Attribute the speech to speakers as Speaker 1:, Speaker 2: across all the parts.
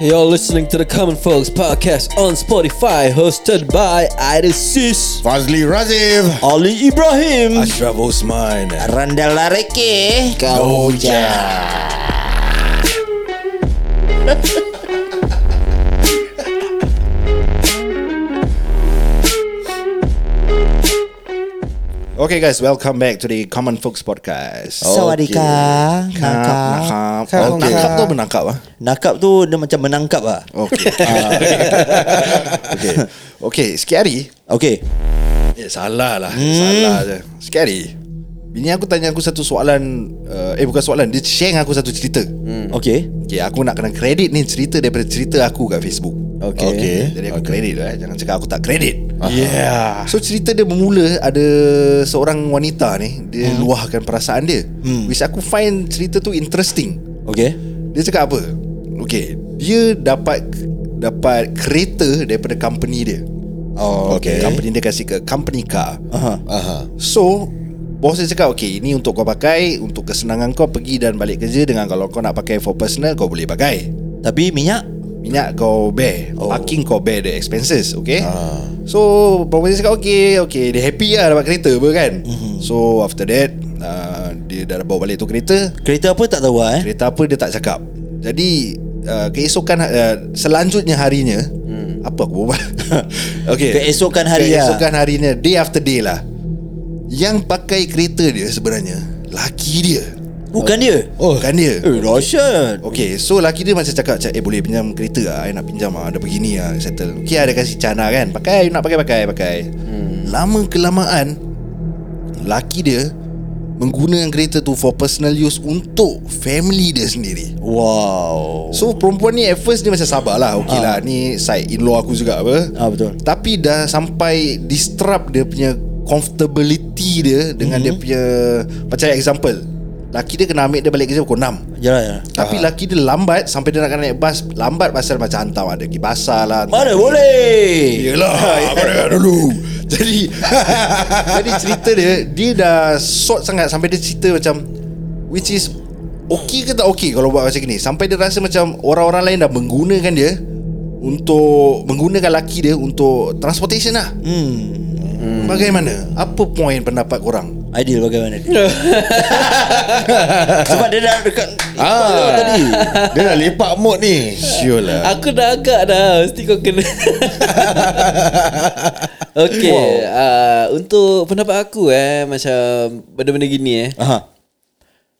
Speaker 1: You're listening to the Common Folks podcast on Spotify, hosted by Idasis,
Speaker 2: Fazli Razif
Speaker 1: Ali Ibrahim.
Speaker 2: Ashraf Osman
Speaker 3: Randall Lareke Kau
Speaker 2: Oja Okay guys, welcome back to the Common Folks Podcast
Speaker 3: Sawadika
Speaker 2: Nakap, nakap Okay Nakap tu menangkap ah.
Speaker 3: Nakap tu dia macam menangkap lah
Speaker 2: Okay Ah. Okay Okay, sikit hari
Speaker 3: Okay
Speaker 2: Eh salah lah hmm. Salah je Scary Bini aku tanya aku satu soalan uh, Eh bukan soalan Dia share dengan aku satu cerita hmm.
Speaker 3: Okay
Speaker 2: Okay aku nak kena kredit ni Cerita daripada cerita aku kat Facebook
Speaker 3: Okay. Okay.
Speaker 2: Jadi aku okay. Ah. kredit lah eh. Jangan cakap aku tak kredit Yeah So cerita dia bermula Ada seorang wanita ni Dia hmm. luahkan perasaan dia hmm. Which aku find cerita tu interesting
Speaker 3: Okay
Speaker 2: Dia cakap apa Okay Dia dapat Dapat kereta daripada company dia
Speaker 3: Oh okay
Speaker 2: Company dia kasi ke company car
Speaker 3: Aha.
Speaker 4: Aha.
Speaker 2: So Bos dia cakap Okay ini untuk kau pakai Untuk kesenangan kau Pergi dan balik kerja Dengan kalau kau nak pakai For personal Kau boleh pakai
Speaker 3: Tapi minyak
Speaker 2: Minyak kau bear oh. Parking kau bear The expenses Okay
Speaker 4: Ah.
Speaker 2: So Perempuan dia cakap Okay okay Dia happy lah Dapat kereta apa kan mm-hmm. So after that uh, Dia dah bawa balik tu kereta
Speaker 3: Kereta apa tak tahu lah eh
Speaker 2: Kereta apa dia tak cakap Jadi uh, Keesokan uh, Selanjutnya harinya hmm. Apa aku berbual okay.
Speaker 3: Keesokan hari lah.
Speaker 2: Keesokan harinya Day after day lah Yang pakai kereta dia sebenarnya Laki dia
Speaker 3: Bukan dia
Speaker 2: Oh Bukan dia
Speaker 3: Eh Roshan
Speaker 2: Okay so laki dia macam cakap macam, Eh boleh pinjam kereta lah I nak pinjam lah Ada begini lah Settle Okay ada kasih cana kan Pakai you nak pakai pakai pakai hmm. Lama kelamaan Laki dia Menggunakan kereta tu For personal use Untuk family dia sendiri
Speaker 3: Wow
Speaker 2: So perempuan ni at first dia macam sabar lah Okay lah ni side in-law aku juga apa
Speaker 3: Ah betul
Speaker 2: Tapi dah sampai disrupt dia punya comfortability dia Dengan mm-hmm. dia punya Macam example Laki dia kena ambil dia balik kerja pukul 6
Speaker 3: Jalan jalan
Speaker 2: Tapi laki dia lambat Sampai dia nak kena naik bas Lambat pasal macam hantar Ada pergi basah lah
Speaker 3: Mana boleh
Speaker 2: Yelah Aku nak kena dulu Jadi Jadi cerita dia Dia dah short sangat Sampai dia cerita macam Which is Okay ke tak okay Kalau buat macam ni Sampai dia rasa macam Orang-orang lain dah menggunakan dia Untuk Menggunakan laki dia Untuk Transportation lah
Speaker 3: Hmm
Speaker 2: hmm. Bagaimana Apa point pendapat korang
Speaker 3: Ideal bagaimana Sebab dia dah dekat
Speaker 4: Ah. Tadi. Dia dah lepak mood ni.
Speaker 2: Sure lah
Speaker 1: Aku dah agak dah Mesti kau kena Okay wow. uh, Untuk pendapat aku eh Macam Benda-benda gini eh
Speaker 3: Aha.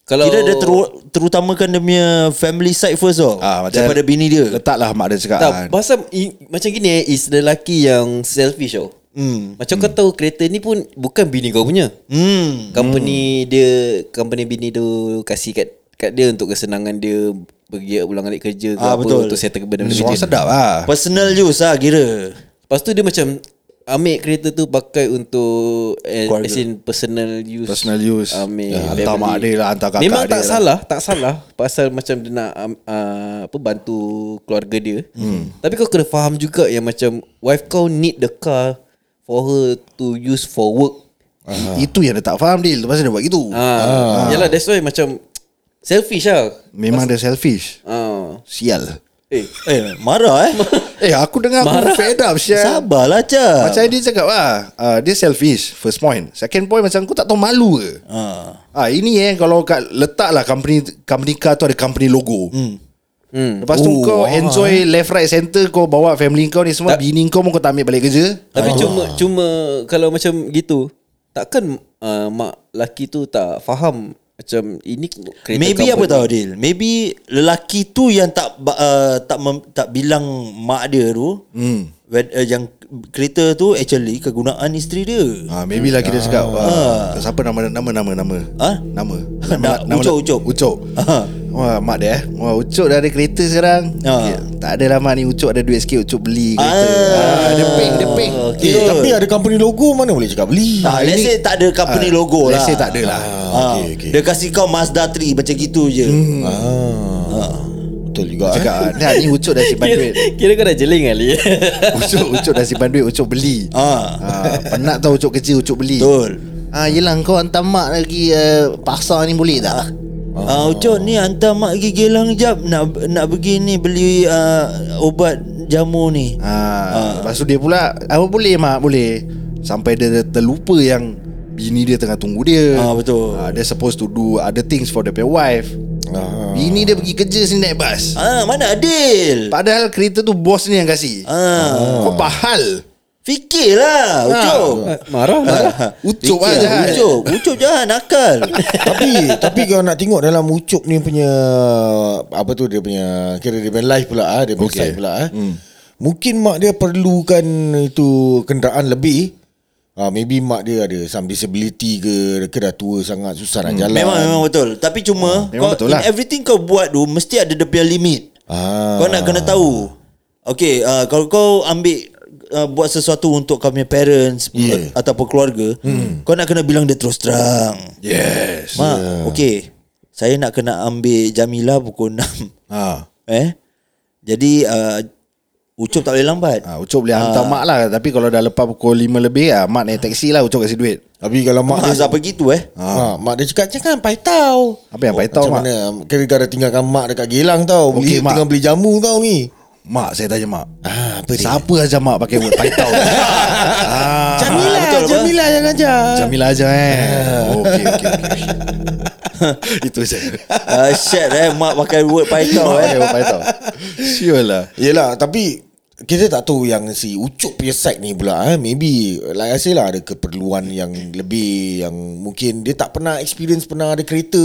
Speaker 1: Kalau
Speaker 3: Kira dia teru, terutamakan dia punya family side first tau
Speaker 2: Ah, macam-
Speaker 3: Daripada bini dia
Speaker 2: Letaklah mak dia cakap ah,
Speaker 1: tak, Pasal i, Macam gini eh Is the lelaki yang Selfish tau
Speaker 3: Hmm.
Speaker 1: Macam kau tahu Kereta ni pun Bukan bini kau punya
Speaker 3: Hmm
Speaker 1: Company dia Company bini tu Kasih kat Kat dia untuk kesenangan dia Pergi pulang balik kerja ke
Speaker 3: Ah,
Speaker 1: apa
Speaker 3: betul.
Speaker 1: Untuk settle benda-benda
Speaker 2: Suara
Speaker 1: dia.
Speaker 2: sedap lah
Speaker 3: Personal use lah kira
Speaker 1: Lepas tu dia macam Ambil kereta tu pakai untuk eh,
Speaker 3: Keluarga.
Speaker 1: As in personal use Ah,
Speaker 2: Personal use.
Speaker 1: Ambil
Speaker 2: Ya, hantar mak dia lah, hantar kakak
Speaker 1: Memang
Speaker 2: dia
Speaker 1: tak
Speaker 2: lah.
Speaker 1: salah Tak salah Pasal macam dia nak um, uh, apa Bantu keluarga dia hmm. Tapi kau kena faham juga Yang macam Wife kau need the car For her to use for work
Speaker 2: Itu yang dia tak faham Dil Lepas dia buat gitu
Speaker 1: ah. Yalah that's why macam Selfish lah
Speaker 2: Memang dia selfish
Speaker 1: ah.
Speaker 2: Sial
Speaker 1: Eh
Speaker 3: Eh marah eh
Speaker 2: Eh aku dengar aku
Speaker 1: Marah.
Speaker 2: fed up Sial
Speaker 3: Sabarlah Cap
Speaker 2: Macam dia cakap lah uh, Dia selfish First point Second point macam Kau tak tahu malu ke
Speaker 3: ah.
Speaker 2: Ah Ini eh Kalau kat, letak lah Company company car tu ada company logo hmm.
Speaker 1: hmm.
Speaker 2: Lepas tu
Speaker 3: Oh,
Speaker 2: kau
Speaker 3: ah,
Speaker 2: enjoy Left right center Kau bawa family kau ni semua
Speaker 1: Tak-
Speaker 2: Bini kau pun kau tak ambil balik kerja
Speaker 1: Tapi cuma cuma kalau macam gitu takkan uh, mak laki tu tak faham macam ini kereta
Speaker 3: Maybe
Speaker 1: company.
Speaker 3: apa tau Adil Maybe lelaki tu yang tak ba- uh, tak mem, tak bilang mak dia tu hmm. when, uh, Yang kereta tu actually kegunaan isteri dia
Speaker 2: Ah, maybe lagi dia cakap ah, Siapa nama nama nama nama
Speaker 3: Ah?
Speaker 2: Nama
Speaker 3: Nak- Ucok, Ucok.
Speaker 2: Ucok
Speaker 3: Ah.
Speaker 2: Wah mak dia eh Wah Ucok dah ada kereta sekarang
Speaker 3: Ah.
Speaker 2: Ya, Tak ada lah mak ni Ucok ada duit sikit Ucok beli kereta
Speaker 3: Ah.
Speaker 2: ah, Dia pink Dia pink
Speaker 3: Okay.
Speaker 4: Eh, tapi ada company logo mana boleh cakap beli.
Speaker 3: Ah, let's say tak ada company
Speaker 2: Ah,
Speaker 3: logo lah
Speaker 2: let's say tak ada lah.
Speaker 3: ah, okay, okay. Dia kasih kau Mazda 3 Macam gitu je
Speaker 2: Hmm.
Speaker 4: Ah. Betul juga eh.
Speaker 2: Cakap ah, Nah ni Ucok dah simpan
Speaker 3: Ya.
Speaker 1: kira,
Speaker 2: duit
Speaker 1: kira kau dah jeling kali.
Speaker 2: Ucok Ucok dah simpan duit Ucok beli
Speaker 3: Ah.
Speaker 2: ah, Penat tau Ucok kerja Ucok beli
Speaker 3: Betul
Speaker 2: Ah, yelah kau hantar mak lagi uh, pasar eh, ni boleh tak?
Speaker 3: Ah, uh, Ucok ni hantar mak pergi Gelang jap nak nak pergi ni beli uh, obat jamu ni.
Speaker 2: Ha,
Speaker 4: Ah.
Speaker 2: lepas tu dia pula Apa boleh mak boleh Sampai dia terlupa yang Bini dia tengah tunggu dia
Speaker 3: Ah, betul.
Speaker 2: Ah, Dia supposed to do Other things for the pay wife
Speaker 4: Ah.
Speaker 2: Bini dia pergi kerja sini naik bas
Speaker 3: Ah, mana adil?
Speaker 2: Padahal kereta tu bos ni yang kasih
Speaker 3: Ah,
Speaker 2: Kau pahal
Speaker 3: fikirlah Ucok.
Speaker 1: Marah marah
Speaker 4: Ah.
Speaker 2: Ucup Ah. lah
Speaker 3: Fikir,
Speaker 2: jahat
Speaker 3: Ucok, Ucok jahat nakal.
Speaker 4: tapi tapi kalau nak tengok dalam Ucup ni punya apa tu dia punya kira dia punya live pula ah dia punya
Speaker 2: Okey.
Speaker 4: side pula ah. Hmm. Mungkin mak dia perlukan itu kenderaan lebih. Ah maybe mak dia ada some disability ke ke dah tua sangat susah nak jalan.
Speaker 3: memang memang betul. Tapi cuma kau,
Speaker 2: memang betul lah.
Speaker 3: in everything kau buat tu mesti ada dia punya limit.
Speaker 4: Ah.
Speaker 3: Kau nak kena tahu Okay uh, Kalau kau ambil uh, Buat sesuatu untuk kau punya parents yeah.
Speaker 4: Yeah.
Speaker 3: Ataupun keluarga Kau nak kena bilang dia terus terang
Speaker 2: Yes
Speaker 3: Mak yeah. Okay Saya nak kena ambil Jamila pukul 6
Speaker 2: ha.
Speaker 3: Eh Jadi uh, Ucup tak boleh lambat
Speaker 2: ha Ucup
Speaker 4: Ah.
Speaker 2: boleh hantar mak lah Tapi kalau dah lepas pukul 5 lebih lah Mak naik taksi lah Ucup kasi duit
Speaker 4: Tapi kalau mak
Speaker 3: Mak
Speaker 4: dia
Speaker 3: asal pergi tu eh
Speaker 4: Ha, mak dia cakap jangan pai tau.
Speaker 2: Apa yang pai tau,
Speaker 4: Oh, macam
Speaker 2: mak?
Speaker 4: Mana? Kira kau dah tinggalkan mak dekat Gelang tau.
Speaker 2: Okey,
Speaker 4: Beli
Speaker 2: mak.
Speaker 4: tengah beli jamu tau ni.
Speaker 2: Mak saya tanya mak
Speaker 4: Ah, apa dia?
Speaker 2: Siapa aja mak pakai word Paitau ah,
Speaker 4: Jamilah,
Speaker 3: betul apa?
Speaker 4: Jamilah yang ajar.
Speaker 2: Jamilah aja eh Okey okey okey Itu saja
Speaker 3: uh, Shit eh Mak pakai word paitau eh
Speaker 2: Pakai Paitau Sure lah
Speaker 4: Yelah tapi kita tak tahu yang si Ucup punya side ni pula eh. Maybe like I say lah ada keperluan yang lebih yang mungkin dia tak pernah experience pernah ada kereta.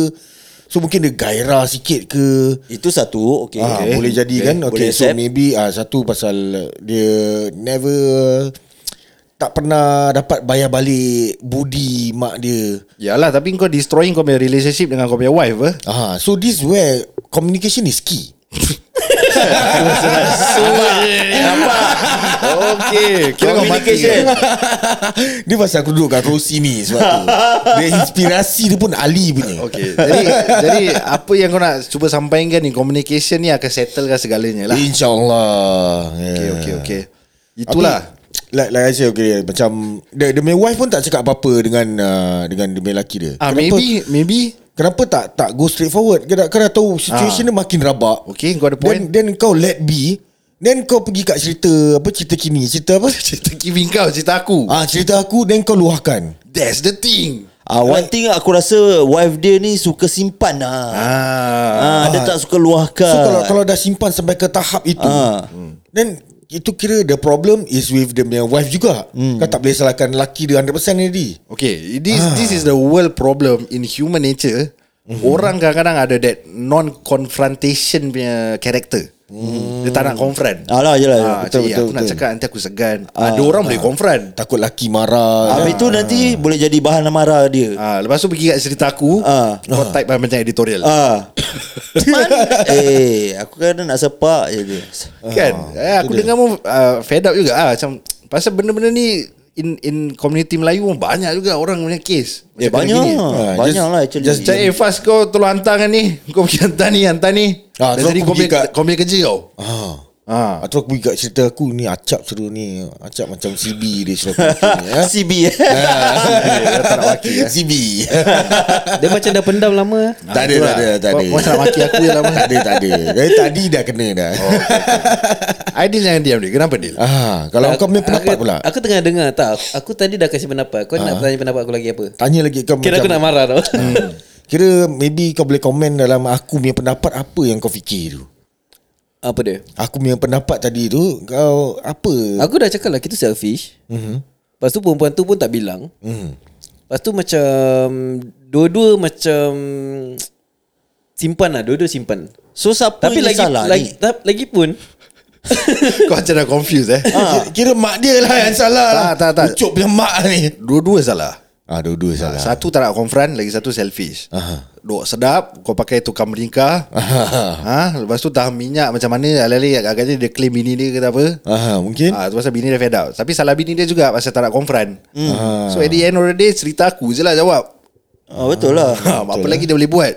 Speaker 4: So mungkin dia gairah sikit ke.
Speaker 3: Itu satu Okay,
Speaker 4: Ah,
Speaker 3: okay.
Speaker 4: boleh jadi kan. Okay,
Speaker 3: Boleh
Speaker 4: so
Speaker 3: accept.
Speaker 4: maybe ah satu pasal dia never tak pernah dapat bayar balik budi mak dia.
Speaker 2: Yalah tapi kau destroying kau punya relationship dengan kau punya wife eh?
Speaker 4: Ah, so this where communication is key.
Speaker 2: Okay Kira kau mati
Speaker 3: Communication.
Speaker 2: kan?
Speaker 4: dia pasal aku duduk kat Rosi ni sebab tu. Dia inspirasi dia pun Ali punya.
Speaker 2: Okay Jadi jadi apa yang kau nak cuba sampaikan ni Communication ni akan settlekan segalanya lah
Speaker 4: InsyaAllah yeah.
Speaker 2: Okay okay okay Itulah
Speaker 4: Tapi, like, like I say okay, Macam Dia, dia punya wife pun tak cakap apa-apa Dengan uh, Dengan dia punya lelaki dia
Speaker 2: Ah maybe maybe
Speaker 4: Kenapa tak tak go straight forward Kau dah, kau dah tahu
Speaker 2: Ah.
Speaker 4: Situation dia makin rabak
Speaker 2: Okay, kau ada
Speaker 4: Then,
Speaker 2: point.
Speaker 4: then kau let be Then kau pergi kat cerita Apa cerita kini Cerita apa
Speaker 2: Cerita Kevin kau cerita aku
Speaker 4: Ah cerita aku Then kau luahkan
Speaker 2: That's the thing
Speaker 3: Ah, one thing aku rasa wife dia ni suka simpan lah. Ah,
Speaker 2: Ah,
Speaker 3: ah, dia tak suka luahkan.
Speaker 4: So kalau kalau dah simpan sampai ke tahap itu,
Speaker 3: Ah.
Speaker 2: Hmm.
Speaker 4: then itu kira the problem is with the punya wife juga.
Speaker 2: Hmm.
Speaker 4: Kau tak boleh salahkan lelaki dia 100% tadi.
Speaker 2: Okay, this ah. this is the world problem in human nature.
Speaker 3: Mhm.
Speaker 2: Mm-hmm. Orang kadang-kadang ada that non-confrontation punya character. Mm. Dia tak nak confront.
Speaker 3: Alah je lah.
Speaker 2: Ah,
Speaker 3: Hmm. betul
Speaker 2: betul,
Speaker 3: betul.
Speaker 2: aku nak cakap nanti aku segan. Ah, ada orang boleh confront.
Speaker 4: Takut lelaki marah.
Speaker 3: Habis tu nanti boleh jadi bahan amarah dia.
Speaker 2: Ah, lepas tu pergi kat cerita aku,
Speaker 3: Ah.
Speaker 2: kau type macam editorial.
Speaker 3: Ah. Man, eh, aku kan nak sepak je dia.
Speaker 2: Kan?
Speaker 3: ah,
Speaker 2: eh, aku dengar pun uh, fed up juga ah macam pasal benda-benda ni in in community Melayu pun banyak juga orang punya case.
Speaker 3: Eh,
Speaker 2: Macam
Speaker 3: banyak.
Speaker 2: gini.
Speaker 4: Ah,
Speaker 3: banyak
Speaker 4: just-
Speaker 3: lah actually.
Speaker 4: just
Speaker 2: Macam eh Fas kau tolong hantar kan ni Kau pergi hantar ni Hantar ni ah,
Speaker 4: Ah,
Speaker 2: Dah
Speaker 4: so
Speaker 2: tadi
Speaker 4: aku
Speaker 2: kau
Speaker 4: pergi
Speaker 2: punya
Speaker 4: kat-
Speaker 2: kau punya kerja kau
Speaker 4: Ah.
Speaker 2: ah.
Speaker 4: Atau aku pergi kat cerita aku ni acap seru ni. Acap macam CB dia suruh aku macam ni, eh.
Speaker 3: CB eh.
Speaker 4: Dia tak nak maki eh. CB.
Speaker 1: Dia macam dah pendam lama
Speaker 4: tak ada, tak ada, tak ada.
Speaker 2: Kau- kau nak maki aku je lah, lama.
Speaker 4: Tak ada, tak ada. Dari tadi dah kena dah.
Speaker 2: Aidil jangan diam ni Kenapa Dil?
Speaker 4: Ah, kalau kau punya pendapat
Speaker 1: aku,
Speaker 4: pula. Ah.
Speaker 1: Aku tengah dengar tak Aku- Aku tadi dah kasi pendapat Kau nak tanya pendapat aku lagi apa
Speaker 4: Tanya lagi kau
Speaker 1: Kira aku nak marah tau
Speaker 4: Hmm. Kira maybe kau boleh komen dalam aku punya pendapat apa yang kau fikir tu.
Speaker 1: Apa dia
Speaker 4: Aku punya pendapat tadi tu kau apa?
Speaker 1: Aku dah cakap lah Kita selfish
Speaker 4: Hmm.
Speaker 1: mm-hmm. Lepas tu perempuan tu pun tak bilang mm. Lepas tu macam Dua-dua macam Simpan lah Dua-dua simpan
Speaker 3: So siapa
Speaker 1: Tapi
Speaker 3: yang
Speaker 1: lagi
Speaker 3: salah
Speaker 1: lagi,
Speaker 3: ni? Ha.
Speaker 1: ta- lagi pun
Speaker 2: Kau macam dah confused eh
Speaker 4: Ah. Kira mak dia lah yang salah
Speaker 2: Tak,
Speaker 4: lah.
Speaker 2: tak, tak.
Speaker 4: Ucup punya mak ni.
Speaker 2: Dua-dua salah
Speaker 4: Ah dua-dua salah.
Speaker 2: Satu tak nak confront Lagi satu selfish
Speaker 4: Aha.
Speaker 2: Duk sedap Kau pakai tukang meringkah ha? Lepas tu tahan minyak Macam mana Alih-alih agaknya dia claim bini dia ke apa
Speaker 4: Ah mungkin.
Speaker 2: Ah, tu pasal bini dia fed up Tapi salah bini dia juga Pasal tak nak confront So at the end of the day Cerita aku je lah jawab
Speaker 3: Ah, betul lah.
Speaker 2: eh? ha, Apa lagi dia boleh buat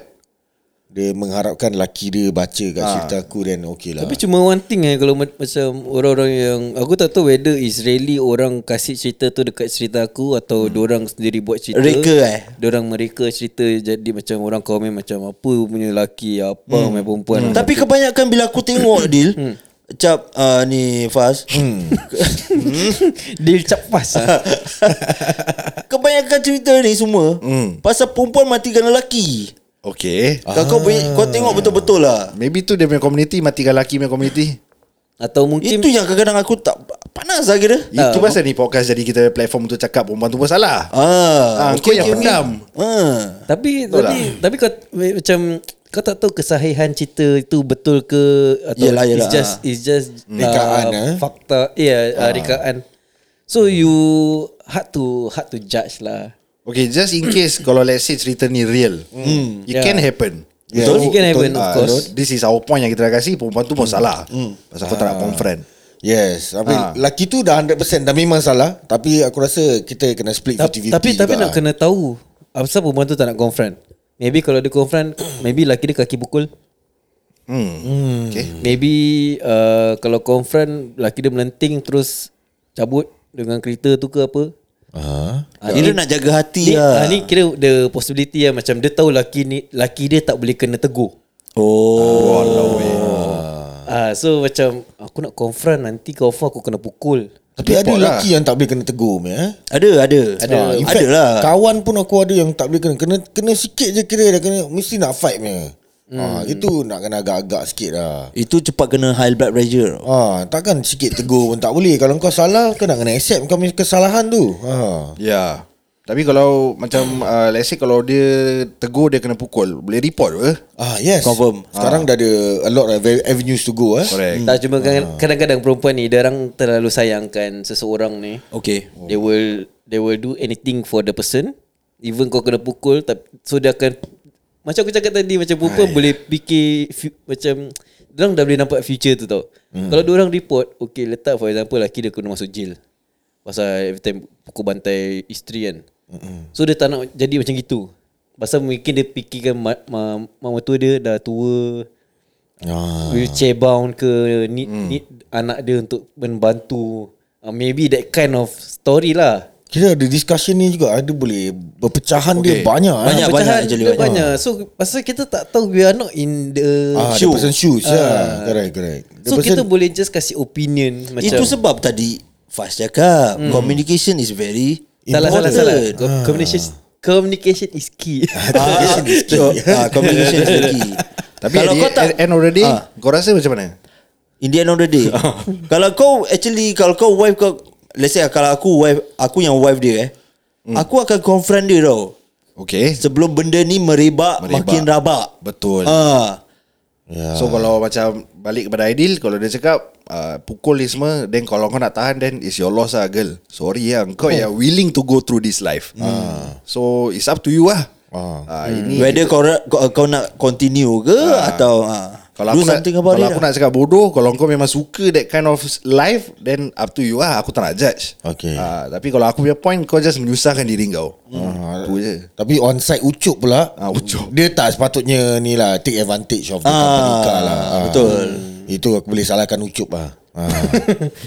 Speaker 4: Dia mengharapkan laki dia baca kat ha. cerita aku Then okay lah
Speaker 1: Tapi cuma one thing eh Kalau ma- macam orang-orang yang Aku tak tahu whether Israeli orang kasih cerita tu dekat cerita aku Atau hmm. orang sendiri buat cerita
Speaker 3: Reka eh?
Speaker 1: Diorang mereka cerita Jadi macam orang komen macam Apa punya lelaki Apa hmm. punya perempuan hmm.
Speaker 3: Tapi kebanyakan bila aku tengok deal Cap uh, ni Faz
Speaker 1: Dia capas lah
Speaker 3: Kebanyakan cerita ni semua Pasal perempuan matikan lelaki
Speaker 2: Okay
Speaker 3: ah. Kau punya, kau tengok betul-betul lah
Speaker 2: Maybe tu dia punya community Matikan lelaki punya community
Speaker 1: Atau mungkin
Speaker 3: Itu yang kadang-kadang aku tak Panas lah kira
Speaker 2: Itu pasal ni podcast Jadi kita platform untuk cakap Perempuan tu pun salah
Speaker 3: ah.
Speaker 2: ah, Kau
Speaker 3: okay,
Speaker 2: yang
Speaker 3: okay.
Speaker 2: pendam
Speaker 3: Ah.
Speaker 1: Tapi
Speaker 2: Betul
Speaker 1: tapi tapi kau we- macam kau tak tahu kesahihan cerita itu betul ke atau
Speaker 3: Yelah, yelah,
Speaker 1: it's just
Speaker 3: ah.
Speaker 1: it's just
Speaker 4: Rekaan, eh?
Speaker 1: fakta ya yeah, uh, rekaan. So you hard to hard to judge lah.
Speaker 2: Okay just in case Kalau let's say cerita ni real mm. It
Speaker 1: Yeah.
Speaker 2: yeah. can happen
Speaker 1: Yeah, Betul? It can happen of
Speaker 2: Ah,
Speaker 1: course.
Speaker 2: This is our point yang kita dah kasi Perempuan tu pun salah Pasal kau tak nak confront
Speaker 4: Yes Tapi
Speaker 2: Ah.
Speaker 4: ha. lelaki tu dah 100% Dah memang salah Tapi aku rasa Kita kena split
Speaker 1: Ta-
Speaker 4: 50-50
Speaker 1: tapi tapi
Speaker 4: juga
Speaker 1: nak
Speaker 4: lah.
Speaker 1: kena tahu apa sebab perempuan tu tak nak confront. Maybe kalau dia confront, maybe laki dia kaki pukul.
Speaker 2: hmm. Okay
Speaker 1: Maybe uh, kalau confront laki dia melenting terus cabut dengan kereta tu ke apa.
Speaker 4: Ah.
Speaker 1: Ah,
Speaker 3: Kira nak jaga hati
Speaker 1: Ni,
Speaker 3: lah
Speaker 1: ah, ni kira the possibility lah Macam dia tahu laki ni Laki dia tak boleh kena tegur
Speaker 3: Oh
Speaker 1: ah. So macam Aku nak confront Nanti confront aku kena pukul
Speaker 4: Tapi ada lelaki yang tak boleh kena tegur meh, eh?
Speaker 3: Ada ada Ada,
Speaker 4: Ah, in
Speaker 3: ada
Speaker 4: fact,
Speaker 3: lah
Speaker 4: Kawan pun aku ada yang tak boleh kena Kena kena sikit je kira dah kena Mesti nak fight meh. Ah, itu nak kena agak-agak sikit lah
Speaker 3: Itu cepat kena high blood pressure
Speaker 4: Ah, takkan sikit tegur pun tak boleh. Kalau kau salah, kau nak kena accept kau punya kesalahan tu. Ha.
Speaker 2: Ya. Tapi kalau macam uh, let's say kalau dia tegur dia kena pukul, boleh report ke?
Speaker 4: Ah, yes.
Speaker 3: Confirm.
Speaker 4: Sekarang dah ada a lot of avenues to go eh.
Speaker 2: Correct.
Speaker 1: Tak cuma kadang- kadang-kadang perempuan ni Dia orang terlalu sayangkan Seseorang ni
Speaker 3: Okay
Speaker 1: They will They will do anything for the person Even kau kena pukul tapi, So dia akan Macam aku cakap tadi Macam perempuan boleh fikir fu- Macam Diorang dah boleh nampak future tu tau Kalau diorang report Okay letak for example Laki dia kena masuk jail Pasal every time Pukul bantai isteri kan So dia tak nak jadi macam gitu Pasal mungkin dia fikirkan ma- ma- Mama tua dia dah tua
Speaker 4: Ah.
Speaker 1: wheelchair bound ke need,
Speaker 4: Hmm.
Speaker 1: mm. need anak dia untuk membantu uh, maybe that kind of story lah
Speaker 4: Kira ada discussion ni juga. Ada boleh berpecahan okay. dia
Speaker 2: Okay.
Speaker 4: banyak. eh.
Speaker 3: Banyak,
Speaker 1: Pecahan
Speaker 3: banyak actually,
Speaker 1: dia
Speaker 3: banyak.
Speaker 1: banyak. so pasal kita tak tahu we are not in the
Speaker 4: Ah, the
Speaker 3: Shoe.
Speaker 4: person shoes. Ah. Correct, correct. The
Speaker 1: so
Speaker 4: person,
Speaker 1: kita boleh just kasih opinion macam
Speaker 3: Itu sebab tadi Faz cakap hmm. Communication is very
Speaker 1: salah salah
Speaker 3: important.
Speaker 1: salah ah. communication communication is key
Speaker 3: Ah, so, ah, communication is the key
Speaker 2: Tapi kalau kau tak end of the day, ha. kau rasa macam mana?
Speaker 3: In the end of the day Kalau kau actually Kalau kau wife kau Let's say ah, kalau aku wife Aku yang wife dia eh Aku akan confront dia tau
Speaker 2: Okay.
Speaker 3: Sebelum benda ni merebak,
Speaker 2: Merebak.
Speaker 3: Makin rabak
Speaker 2: Betul.
Speaker 3: Ah,
Speaker 4: yeah.
Speaker 2: So kalau macam balik kepada Aidil, kalau dia cakap uh, pukul ni semua, then kalau kau nak tahan then it's your loss lah girl. Sorry lah, kau oh. yang willing to go through this life. Hmm. So it's up to you lah.
Speaker 4: Ah.
Speaker 2: Ah, ini
Speaker 3: Whether kau, ra- kau, kau nak continue ke Atau ah,
Speaker 2: Kalau
Speaker 3: do
Speaker 2: aku nak
Speaker 3: something about
Speaker 2: kalau
Speaker 3: it
Speaker 2: aku
Speaker 3: lah.
Speaker 2: nak cakap bodoh, kalau kau memang suka that kind of life, then up to you lah. Aku tak nak judge.
Speaker 4: Okay.
Speaker 2: Ah, tapi kalau aku punya point, kau just menyusahkan diri kau. Hmm. Tu je.
Speaker 4: Tapi on site ucup pula.
Speaker 2: Ah, ucup.
Speaker 4: Dia tak sepatutnya ni lah take advantage of the
Speaker 3: Ah,
Speaker 4: company car lah.
Speaker 3: betul.
Speaker 4: Itu aku boleh salahkan ucup lah. Ah.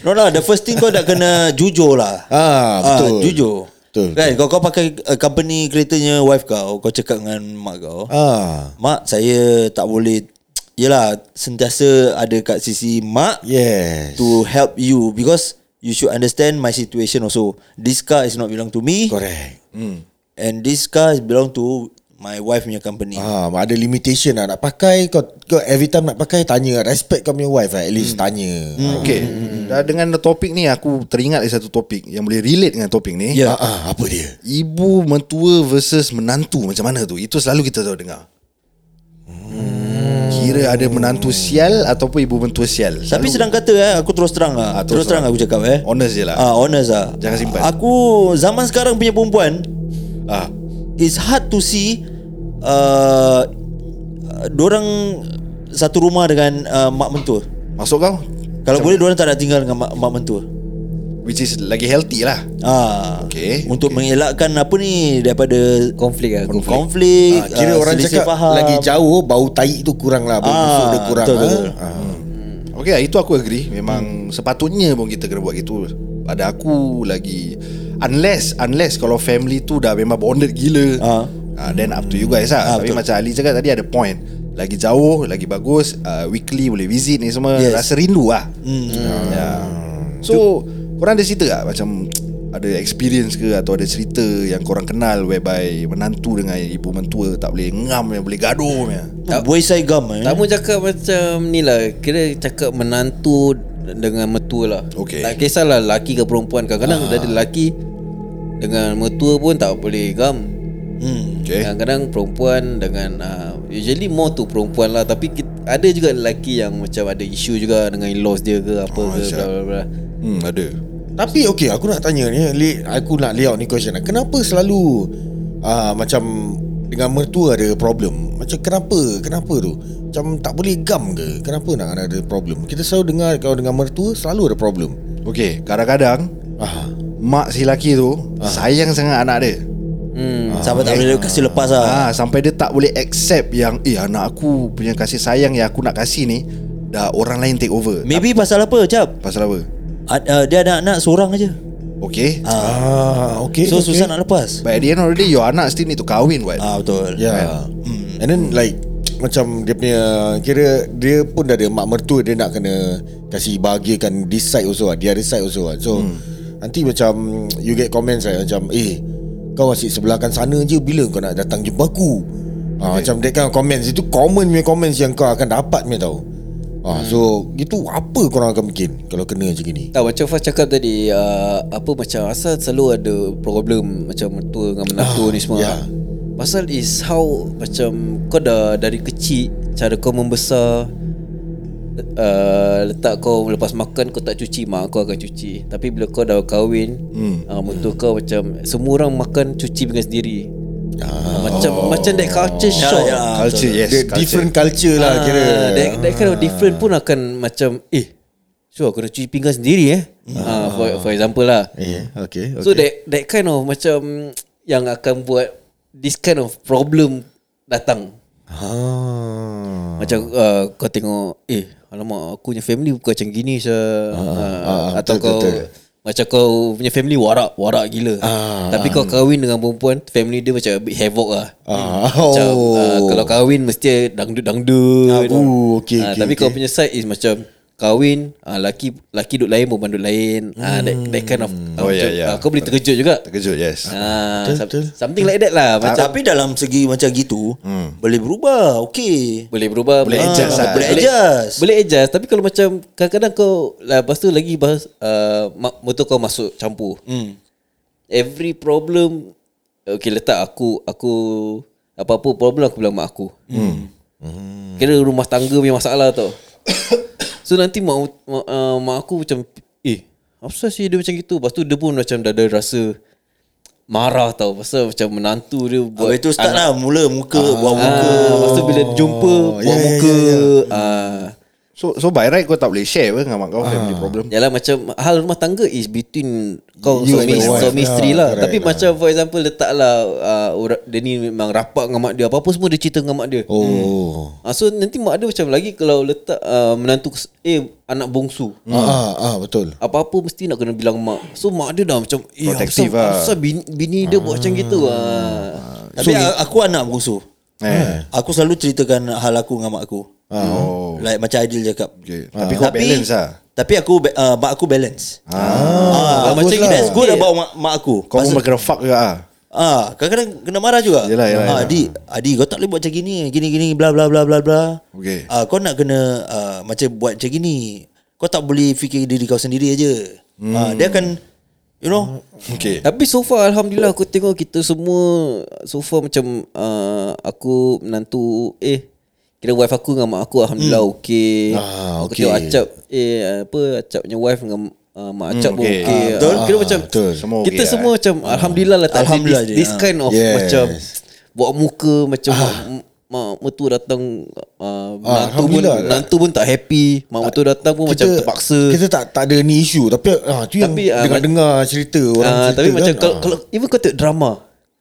Speaker 3: No lah The first thing kau nak kena Jujur lah
Speaker 4: Ah, betul.
Speaker 3: Jujur
Speaker 4: Betul,
Speaker 3: Kan kau, kau pakai uh, Company keretanya wife kau Kau cakap dengan mak kau
Speaker 4: ah.
Speaker 3: Mak saya tak boleh Yelah Sentiasa ada kat sisi mak
Speaker 4: Yes.
Speaker 3: To help you Because You should understand my situation also This car is not belong to me
Speaker 4: Correct.
Speaker 3: And this car is belong to My wife punya company
Speaker 4: Ah, ada limitation lah nak pakai kau, kau every time nak pakai tanya respect kau punya wife lah, at least hmm. tanya. Hmm.
Speaker 2: Okay. Dah dengan topik ni aku teringat lagi satu topik yang boleh relate dengan topik ni.
Speaker 3: Ya.
Speaker 4: Ah, ah, apa dia?
Speaker 2: Ibu mentua versus menantu macam mana tu? Itu selalu kita tahu dengar. Hmm. Kira ada menantu sial ataupun ibu mentua sial.
Speaker 3: Tapi
Speaker 2: Selalu-
Speaker 3: sedang kata eh, Aku terus terang lah Terus, terang, aku cakap eh
Speaker 2: Honest je lah.
Speaker 3: Ah, Honest lah
Speaker 2: Jangan simpan.
Speaker 3: Aku Zaman sekarang punya perempuan
Speaker 2: ah.
Speaker 3: It's hard to see uh, Diorang Satu rumah dengan uh, Mak mentua
Speaker 2: Masuk kau?
Speaker 3: Kalau boleh diorang tak nak tinggal dengan mak, mak mentua
Speaker 2: Which is lagi healthy lah
Speaker 3: Ah,
Speaker 2: Okay.
Speaker 3: Untuk mengelakkan apa ni daripada
Speaker 1: Konflik lah,
Speaker 3: konflik.
Speaker 1: konflik.
Speaker 3: konflik
Speaker 4: Ah, kira
Speaker 3: ah,
Speaker 4: orang
Speaker 3: selisih
Speaker 4: cakap
Speaker 3: faham.
Speaker 4: lagi jauh bau tai tu kurang lah, bau
Speaker 3: Ah,
Speaker 4: busuk dia kurang.
Speaker 3: betul,
Speaker 4: ah.
Speaker 3: betul.
Speaker 4: Ah.
Speaker 2: Okay itu aku agree Memang sepatutnya pun kita kena buat gitu Pada aku lagi Unless Unless kalau family tu dah memang bonded gila
Speaker 3: Ah.
Speaker 2: ah, Then up to you guys
Speaker 3: Ah,
Speaker 2: lah Tapi
Speaker 3: betul.
Speaker 2: macam Ali cakap tadi ada point Lagi jauh Lagi bagus ah, Weekly boleh visit ni semua
Speaker 3: Yes.
Speaker 2: Rasa rindu lah
Speaker 3: Hmm.
Speaker 2: yeah. So Korang ada cerita tak macam Ada experience ke Atau ada cerita Yang korang kenal Whereby Menantu dengan ibu mentua Tak boleh ngam yang Boleh gaduh punya?
Speaker 3: Tak buai saya gam eh.
Speaker 1: Tamu Hmm? cakap macam ni lah Kira cakap menantu dengan mertua lah
Speaker 2: Okey. Ah.
Speaker 1: Tak kisahlah lelaki ke perempuan Kadang-kadang ada lelaki Dengan mertua pun tak boleh gam
Speaker 3: Hmm.
Speaker 2: Okay
Speaker 1: Kadang-kadang perempuan dengan uh, Usually more tu perempuan lah Tapi kita, ada juga lelaki yang macam ada isu juga Dengan in-laws dia ke apa
Speaker 2: Oh,
Speaker 1: oh, ke
Speaker 2: siap.
Speaker 1: bla bla bla
Speaker 2: hmm, Ada
Speaker 4: Tapi okay aku nak tanya ni Li, Aku nak lay out ni question lah. Kenapa selalu uh, Macam Dengan mertua ada problem Macam kenapa Kenapa tu Macam tak boleh gam ke Kenapa nak ada problem Kita selalu dengar Kalau dengan mertua Selalu ada problem
Speaker 2: Okay Kadang-kadang
Speaker 4: ah.
Speaker 2: Mak si lelaki tu Sayang sangat anak dia
Speaker 1: hmm.
Speaker 3: Sampai tak boleh kasi lepas lah.
Speaker 2: ha, Sampai dia tak boleh accept Yang Eh anak aku punya kasih sayang Yang aku nak kasih ni Dah orang lain take over
Speaker 3: Maybe pasal apa cap?
Speaker 2: Pasal apa
Speaker 3: Ad, uh, dia anak-anak seorang aja.
Speaker 2: Okay
Speaker 3: Ah.
Speaker 4: ah okay
Speaker 3: so
Speaker 4: okay.
Speaker 3: susah nak lepas.
Speaker 2: But at the end of the day Your anak still need to kahwin what
Speaker 3: Ah betul.
Speaker 1: Ya.
Speaker 4: Yeah hmm. And then like Macam dia punya Kira Dia pun dah ada Mak mertua dia nak kena Kasih bahagiakan This side also lah The other side also lah So hmm. Nanti macam You get comments right Macam eh Kau asyik sebelahkan sana je Bila kau nak datang jumpa aku ha, Macam that kind of comments Itu common punya comments Yang kau akan dapat punya tau ha, So Itu apa korang akan bikin Kalau kena macam gini
Speaker 1: Tak macam Fas cakap tadi uh, Apa macam asal selalu ada problem Macam mertua dengan menantu
Speaker 4: Ah,
Speaker 1: ni semua
Speaker 4: ya.
Speaker 1: yeah. Pasal is how Macam kau dah dari kecil Cara kau membesar Uh, letak kau lepas makan kau tak cuci mak kau akan cuci tapi bila kau dah kahwin hmm. uh, mertua kau macam semua orang makan cuci dengan sendiri ah. macam oh. macam that culture
Speaker 3: Ya,
Speaker 1: shock
Speaker 3: ya,
Speaker 2: Culture yes
Speaker 4: The
Speaker 2: culture.
Speaker 4: different culture lah Kira
Speaker 1: Ah, that, that kind of different pun akan macam eh sure aku nak cuci pinggan sendiri eh ah. for, for example lah
Speaker 4: yeah, Hmm. Eh, okay, okay.
Speaker 1: so that that kind of macam yang akan buat this kind of problem datang
Speaker 4: ha.
Speaker 1: macam uh, kau tengok eh alamak aku punya family bukan macam gini se ah,
Speaker 4: ah,
Speaker 1: atau
Speaker 4: betul,
Speaker 1: kau
Speaker 4: betul.
Speaker 1: macam kau punya family warak warak gila
Speaker 4: Ah,
Speaker 1: tapi kau kahwin dengan perempuan family dia macam a bit havoc lah
Speaker 4: Ah,
Speaker 1: Macam
Speaker 4: oh.
Speaker 1: uh, Kalau kahwin Mesti dangdut-dangdut
Speaker 4: Ah, oh, okay,
Speaker 1: Ah,
Speaker 4: okay,
Speaker 1: Tapi
Speaker 4: okay.
Speaker 1: kalau punya side Is macam Kahwin uh, Laki Laki duduk lain Perempuan duduk lain Ah, that, that kind of ah,
Speaker 2: Oh, ya, ya.
Speaker 1: Kau boleh terkejut juga
Speaker 2: Terkejut yes
Speaker 1: Ah, some- Something like that
Speaker 3: Ah,
Speaker 1: lah Macam
Speaker 3: Tapi dalam segi macam gitu hmm. Boleh berubah Okey Ah,
Speaker 1: boleh berubah
Speaker 2: Boleh adjust lah.
Speaker 1: boleh
Speaker 3: Boleh adjust.
Speaker 1: adjust boleh adjust tapi kalau macam kadang-kadang kau lah, lepas tu lagi bahas uh, ma- motor kau masuk campur hmm. every problem okay letak aku aku apa-apa problem aku bilang mak aku hmm. kira rumah tangga punya masalah tau so nanti mak mak, uh, mak aku macam eh apa sih dia macam gitu lepas tu dia pun macam dah ada rasa marah tau pasal macam menantu dia buat
Speaker 3: Habis tu start lah Oh, Mula muka Buat muka
Speaker 1: Ah, lepas tu bila jumpa
Speaker 3: ya,
Speaker 1: buat
Speaker 4: yeah, yeah,
Speaker 1: muka
Speaker 4: yeah,
Speaker 1: ah
Speaker 2: So so by right kau tak boleh share pun Dengan mak kau family problem
Speaker 1: Yalah macam hal rumah tangga is between kau
Speaker 4: You
Speaker 1: suami
Speaker 4: and your wife.
Speaker 1: suami isteri
Speaker 4: Yeah,
Speaker 1: lah.
Speaker 4: correct
Speaker 1: Tapi
Speaker 4: lah.
Speaker 1: macam for example letaklah uh, orang- dia ni memang rapat dengan mak dia apa-apa semua dia cerita dengan mak dia. Oh.
Speaker 4: Oh
Speaker 1: so nanti mak dia macam lagi kalau letak uh, menantu kes- eh anak bongsu.
Speaker 4: Ah, ah, ah betul.
Speaker 1: Apa-apa mesti nak kena bilang mak. So mak dia dah macam eh
Speaker 2: Protective
Speaker 1: asal,
Speaker 2: lah.
Speaker 1: asal bini, bini dia buat macam gitu ah.
Speaker 3: Tapi a- aku anak bungsu
Speaker 2: eh.
Speaker 3: Aku selalu ceritakan Hal aku dengan mak aku
Speaker 2: Oh
Speaker 3: Like macam Aidil cakap Ah.
Speaker 2: okay. Tapi kau balance lah
Speaker 3: Tapi aku ba- uh, Mak aku balance ah, ah,
Speaker 1: bagus
Speaker 3: Macam
Speaker 1: lah.
Speaker 3: that's good about mak, mak aku
Speaker 2: Kau pun kena fuck juga lah
Speaker 3: Ah, kadang-kadang kena marah juga.
Speaker 2: Yelah, yelah,
Speaker 3: Ah,
Speaker 2: yelah.
Speaker 3: Adi, Adi kau tak boleh buat macam gini, gini gini bla bla bla bla bla.
Speaker 2: Okey.
Speaker 3: Ah, kau nak kena ah, macam buat macam gini. Kau tak boleh fikir diri kau sendiri aja. Hmm. Ah, dia akan you know.
Speaker 2: Okay
Speaker 1: Tapi so far Alhamdulillah aku tengok kita semua So far macam uh, Aku menantu Eh Kira wife aku dengan mak aku Alhamdulillah hmm. okay
Speaker 4: Ah,
Speaker 1: Aku
Speaker 4: okey.
Speaker 1: tengok Acap Eh apa Acap punya wife dengan uh, Mak Acap
Speaker 2: Hmm,
Speaker 1: pun
Speaker 2: okey.
Speaker 1: okay, okay.
Speaker 4: Ah, betul.
Speaker 1: Kira macam
Speaker 4: Betul.
Speaker 2: Semua okey
Speaker 1: Kita
Speaker 2: lah,
Speaker 1: semua macam Alhamdulillah lah tak ada
Speaker 3: Alhamdulillah
Speaker 1: this,
Speaker 3: je,
Speaker 1: this
Speaker 3: ah.
Speaker 1: kind of
Speaker 4: Yes.
Speaker 1: Macam Buat muka Macam mak mertua datang uh, nantu pun
Speaker 4: Alhamdulillah lah.
Speaker 1: nantu pun tak happy mak mertua datang pun macam terpaksa
Speaker 4: Kita tak tak ada ni isu tapi ah tu
Speaker 1: Tapi,
Speaker 4: yang
Speaker 1: ah,
Speaker 4: dengar-dengar cerita orang
Speaker 1: Ah, Hmm.
Speaker 4: cerita
Speaker 1: tapi
Speaker 4: kan,
Speaker 1: macam kalau,
Speaker 4: ah.
Speaker 1: kalau even kau tengok drama.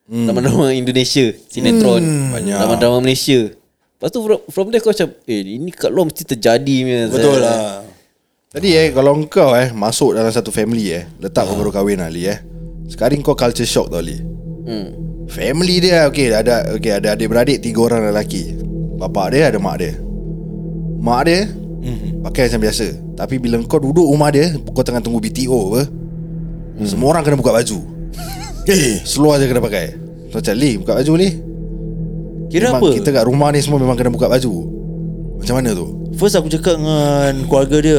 Speaker 1: Drama-drama Indonesia, sinetron, drama-drama Malaysia. Lepas tu from, from there kau macam eh ini kat luar mesti terjadi punya.
Speaker 3: Betul lah.
Speaker 2: Tadi eh Kalau kau eh Masuk dalam satu family eh Letak kau baru kahwin Ali eh Sekarang kau culture shock tau Ali
Speaker 1: Hmm.
Speaker 2: Family dia Okay ada okay, ada adik-beradik Tiga orang lelaki Bapak dia ada mak dia Mak dia Pakai macam biasa Tapi bila kau duduk rumah dia Kau tengah tunggu BTO apa Semua orang kena buka baju
Speaker 4: eh
Speaker 2: Seluar je kena pakai So macam Li buka baju ni
Speaker 3: Kira
Speaker 2: memang
Speaker 3: apa?
Speaker 2: Kita kat rumah ni semua memang kena buka baju Macam mana tu?
Speaker 3: First aku cakap dengan keluarga dia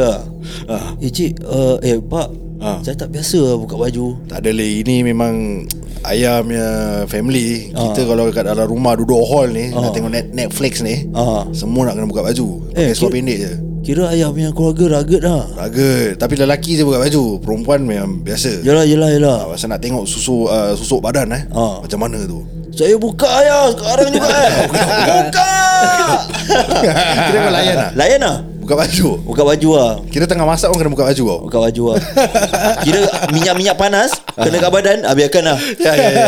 Speaker 3: ah. Eh cik uh, Eh pak
Speaker 2: Ah.
Speaker 3: Saya tak biasa lah buka baju
Speaker 2: Tak ada Li Ini memang Ayamnya family
Speaker 3: Ah.
Speaker 2: Kita kalau kat dalam rumah Duduk hall ni Nak tengok net, Netflix ni
Speaker 3: Ah.
Speaker 2: Semua nak kena buka baju
Speaker 3: Eh,
Speaker 2: Pakai seluar
Speaker 3: ki-
Speaker 2: pendek je
Speaker 3: Kira ayah punya keluarga ragut lah
Speaker 2: Raga Tapi lelaki je buka baju Perempuan memang biasa
Speaker 3: Yalah yalah yalah
Speaker 2: Ah, Pasal nak tengok susu uh, susuk badan eh
Speaker 3: Ah.
Speaker 2: Macam mana tu
Speaker 3: Saya buka ayah sekarang juga eh Buka
Speaker 2: Kira kau layan lah
Speaker 3: Layan lah
Speaker 2: Buka baju
Speaker 3: Buka baju lah
Speaker 2: Kira tengah masak pun kena buka baju kau
Speaker 3: Buka baju lah Kira minyak-minyak panas Kena kat badan ah, Biarkan lah
Speaker 2: Ya ya ya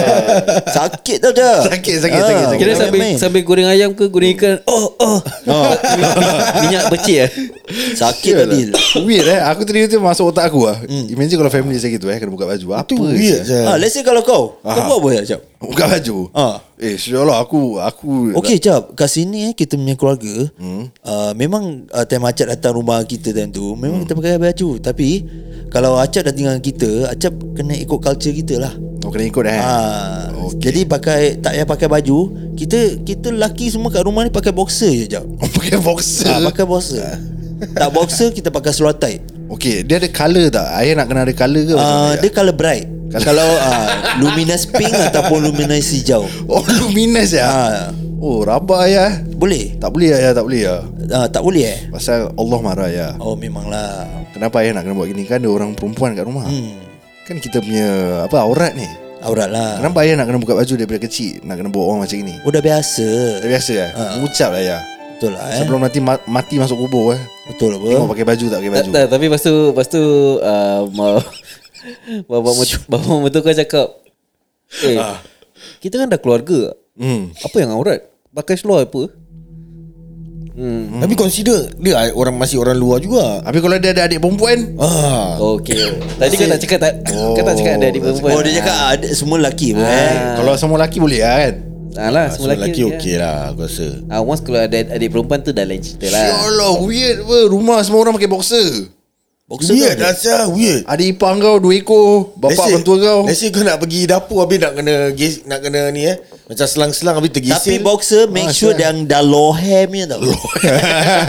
Speaker 3: Sakit tau Ah, je
Speaker 2: Sakit, sakit, sakit, sakit.
Speaker 1: Kira
Speaker 3: bukan
Speaker 1: sambil
Speaker 3: main-main.
Speaker 1: sambil goreng ayam ke goreng ikan. Oh oh. Minyak becik eh.
Speaker 3: Sakit tadi
Speaker 2: Weird eh Aku tadi tu masuk otak aku lah
Speaker 3: Hmm.
Speaker 2: Imagine kalau family saya gitu eh Kena buka baju Apa
Speaker 4: tu weird
Speaker 2: je
Speaker 4: je
Speaker 3: ah, Let's say kalau kau Kau
Speaker 2: Ah.
Speaker 3: buat apa Jap?
Speaker 2: Buka baju
Speaker 3: Ah.
Speaker 2: Eh syurlah aku Aku
Speaker 3: Okey Cap Kat sini eh Kita punya keluarga hmm. uh, Memang uh, Time Acap datang rumah kita Time tu Memang kita pakai baju Tapi Kalau Acap dah tinggal dengan kita Acap kena ikut culture kita lah
Speaker 2: Oh kena ikut eh
Speaker 3: Ah,
Speaker 2: Okey.
Speaker 3: Jadi pakai Tak payah pakai baju Kita Kita lelaki semua kat rumah ni Pakai boxer je Cap
Speaker 2: Oh, Pakai boxer
Speaker 3: ah, Pakai boxer Tak boxer Kita pakai seluar tight
Speaker 2: Okey dia ada colour tak Ayah nak kena ada colour ke macam
Speaker 3: uh,
Speaker 2: mana,
Speaker 3: Dia
Speaker 2: ya?
Speaker 3: colour bright
Speaker 2: Colour-
Speaker 3: Kalau uh, Luminous pink Ataupun luminous hijau
Speaker 2: Oh luminous ya
Speaker 3: Ah.
Speaker 2: Oh rabak ayah
Speaker 3: Boleh
Speaker 2: Tak boleh ayah tak boleh ya
Speaker 3: uh, Tak boleh eh
Speaker 2: Pasal Allah marah ayah
Speaker 3: Oh memanglah
Speaker 2: Kenapa ayah nak kena buat gini Kan ada orang perempuan kat rumah
Speaker 3: Hmm.
Speaker 2: Kan kita punya Apa aurat ni
Speaker 3: Aurat lah
Speaker 2: Kenapa ayah nak kena buka baju daripada kecil Nak kena buat orang macam ni
Speaker 3: Oh dah biasa
Speaker 2: Dah biasa lah Mengucap lah ayah
Speaker 3: Betul lah Ah. eh
Speaker 2: Sebelum nanti ma- mati masuk kubur eh
Speaker 3: Betul apa
Speaker 2: Tengok pakai baju tak pakai
Speaker 1: Tak,
Speaker 2: baju
Speaker 3: Eh,
Speaker 1: tak, tapi lepas tu lepas tu ah, ma- bapak mertu- bapak mertua kau cakap eh
Speaker 3: Ah.
Speaker 1: kita kan dah keluarga.
Speaker 2: Hmm
Speaker 1: Apa yang aurat? Pakai seluar apa?
Speaker 4: Tapi consider Dia ah, orang masih orang luar juga
Speaker 2: Habis kalau dia ada adik perempuan
Speaker 4: ah.
Speaker 1: Okey. Tadi kau tak cakap tak oh, kau tak cakap ada adik perempuan.
Speaker 3: Oh dia cakap ah, ada- semua lelaki pun eh
Speaker 2: Kalau semua lelaki boleh lah kan
Speaker 1: Ah lah,
Speaker 4: Semua
Speaker 1: semua lelaki
Speaker 4: lelaki okey lah Aku rasa
Speaker 1: Ah, once kalau ada adik perempuan tu dah lain cerita lah.
Speaker 2: Allah weird apa Rumah semua orang pakai boxer
Speaker 3: Boxer
Speaker 4: Weird
Speaker 3: kan?
Speaker 4: Asya Weird
Speaker 1: Ah,
Speaker 2: Adik ipar kau dua ekor Bapak
Speaker 4: Let's say-
Speaker 2: mentua kau
Speaker 4: Let's say kau nak pergi dapur Habis nak kena ges- Nak kena ni eh Macam selang-selang Habis
Speaker 3: Tapi
Speaker 4: tergesil
Speaker 3: boxer make
Speaker 2: Ah,
Speaker 3: sure
Speaker 2: sial.
Speaker 3: yang dah low hair punya tau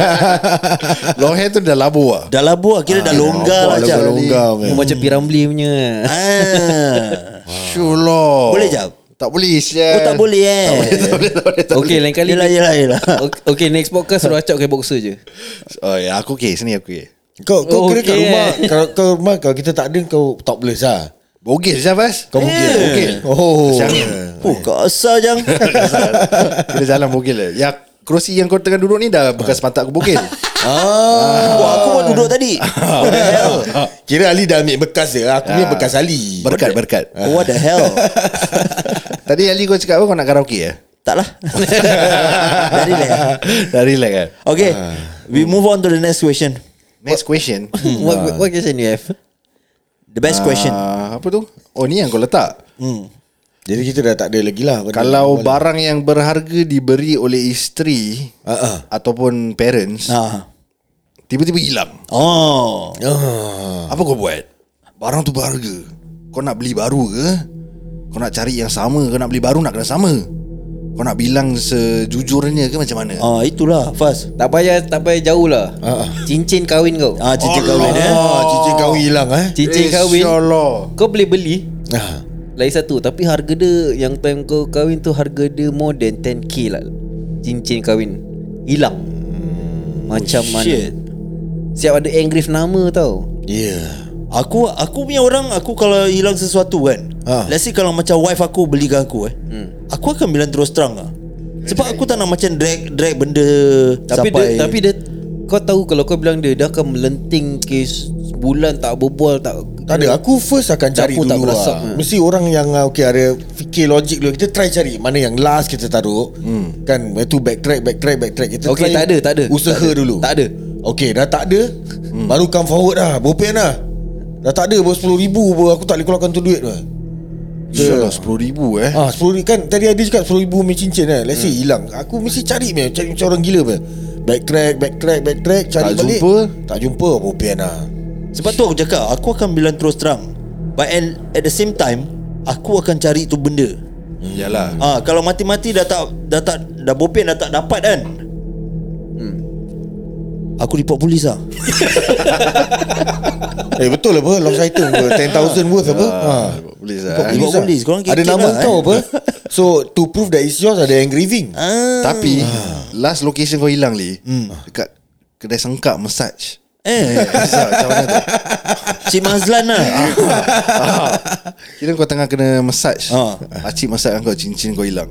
Speaker 2: Long hair tu dah labu lah
Speaker 3: Dah labu lah Kira dah longgar lah Jab
Speaker 4: Longgar-longgar
Speaker 1: Oh, macam Piramli punya.
Speaker 3: ah.
Speaker 2: Sure lah
Speaker 3: Boleh, Jab?
Speaker 2: Tak
Speaker 3: Oh
Speaker 2: boleh sial
Speaker 3: tak boleh eh
Speaker 1: Okey, lain kali.
Speaker 3: Yelah yelah yelah
Speaker 1: Ok- Okey, next podcast suruh acak pakai boxer je.
Speaker 2: Oh ya aku okay Sini aku okay
Speaker 4: Kau, kau
Speaker 1: Oh,
Speaker 4: kira kat
Speaker 1: okay.
Speaker 4: rumah Kalau kau rumah kau Kita tak ada Kau topless lah
Speaker 2: Bogil siapa Fas
Speaker 4: Kau mungkin
Speaker 2: Bogil
Speaker 4: Oh
Speaker 2: Siangin
Speaker 3: Oh kasar jang
Speaker 2: Kita jalan bogil lah Ya kerusi yang kau tengah duduk ni Dah bekas pantat aku bogil
Speaker 3: Wah aku pun duduk tadi What the hell
Speaker 4: Kira Ali dah ambil bekas dia Aku punya
Speaker 2: Ah.
Speaker 4: bekas Ali
Speaker 2: Berkat berkat
Speaker 3: What the hell
Speaker 2: Tadi Ali kau cakap apa Kau nak karaoke ya
Speaker 3: Tak lah Dari lah
Speaker 2: Dah relax kan
Speaker 3: Okay We move on to the next question
Speaker 2: Next question
Speaker 4: Hmm.
Speaker 1: what, what, what question you have?
Speaker 3: The best question
Speaker 2: Ah, Apa tu Oh ni yang kau letak
Speaker 4: Hmm, Jadi kita dah tak ada lagi lah benda
Speaker 2: Kalau
Speaker 4: normal.
Speaker 2: barang yang berharga Diberi oleh isteri
Speaker 4: Ah, ah.
Speaker 2: Ataupun parents
Speaker 3: ah.
Speaker 2: Tiba-tiba hilang
Speaker 3: Oh
Speaker 4: Ah.
Speaker 2: Apa kau buat? Barang tu berharga Kau nak beli baru ke? Kau nak cari yang sama ke? Nak beli baru nak kena sama? Kau nak bilang sejujurnya ke macam mana?
Speaker 4: Oh,
Speaker 3: Ah itulah Fas.
Speaker 1: Tak payah tak payah jauh lah. Cincin kahwin kau.
Speaker 3: Ah cincin
Speaker 2: Allah.
Speaker 3: kahwin eh.
Speaker 1: Oh.
Speaker 4: Ah, cincin kau hilang eh.
Speaker 1: Cincin kahwin.
Speaker 2: InsyaAllah
Speaker 1: Kau boleh beli
Speaker 4: Ah.
Speaker 1: lagi satu tapi harga dia yang time kau kahwin tu harga dia more than 10k lah. Cincin kahwin. Hilang. Macam
Speaker 3: Oh,
Speaker 1: mana?
Speaker 3: shit.
Speaker 1: Siap ada engrave nama tau.
Speaker 4: Yeah.
Speaker 3: Aku aku punya orang aku kalau hilang sesuatu kan.
Speaker 4: Ah.
Speaker 3: Let's say kalau macam wife aku belikan aku eh. Aku akan bilang terus terang lah. Sebab aku tak nak macam drag drag benda
Speaker 1: Tapi
Speaker 3: sampai
Speaker 1: dia, tapi dia kau tahu kalau kau bilang dia dia akan melenting kes bulan tak berbual tak
Speaker 4: Tak ada Aku first akan cari
Speaker 1: Dapur
Speaker 4: dulu
Speaker 1: tak
Speaker 4: tak
Speaker 1: berasap,
Speaker 4: lah.
Speaker 1: ha.
Speaker 4: Mesti orang yang ah, Okay ada Fikir logik dulu Kita try cari Mana yang last kita taruh hmm. Kan Itu backtrack Backtrack backtrack Kita
Speaker 1: Okay,
Speaker 4: try
Speaker 1: tak ada, tak ada.
Speaker 4: Usaha
Speaker 1: Tak ada.
Speaker 4: dulu
Speaker 1: Tak ada.
Speaker 4: Okay dah tak ada hmm. Baru come forward lah Bopian lah Dah tak ada Baru 10 ribu Aku tak boleh keluarkan tu duit lah
Speaker 1: Hmm.
Speaker 2: Insyaallah 10000 eh.
Speaker 4: Ah, sepuluh ribu kan tadi ada cakap sepuluh ribu punya cincin kan. Let's say
Speaker 1: Hmm.
Speaker 4: hilang. Aku mesti cari punya, cari macam orang gila punya. Backtrack, backtrack, backtrack, cari
Speaker 2: Tak
Speaker 4: balik.
Speaker 2: jumpa.
Speaker 4: Tak jumpa. Bopian lah.
Speaker 3: Sebab tu aku cakap Aku akan bilang terus terang But at, at the same time Aku akan cari tu benda
Speaker 2: Yalah.
Speaker 3: ha, Kalau mati-mati dah tak Dah tak Dah bopian dah tak dapat kan Hmm. Aku report polis lah
Speaker 4: Eh betul apa lost item apa 10,000 worth
Speaker 3: Ya,
Speaker 4: apa? Ha.
Speaker 2: Boleh
Speaker 4: Kau
Speaker 3: Report
Speaker 2: lah.
Speaker 4: polis lah.
Speaker 3: polis, korang
Speaker 4: Ada
Speaker 3: kikik
Speaker 4: nama
Speaker 3: lah,
Speaker 4: kau
Speaker 3: eh.
Speaker 4: apa? So to prove that it's yours ada engraving.
Speaker 3: ah,
Speaker 2: Tapi last location kau hilang Li.
Speaker 3: Hmm.
Speaker 2: Ah. Dekat kedai sengkak massage.
Speaker 3: Eh
Speaker 2: Massage macam mana tu?
Speaker 3: Cik Mazlan lah
Speaker 2: Kira kau tengah kena massage.
Speaker 3: Ah.
Speaker 2: Acik massage kan kau cincin kau hilang.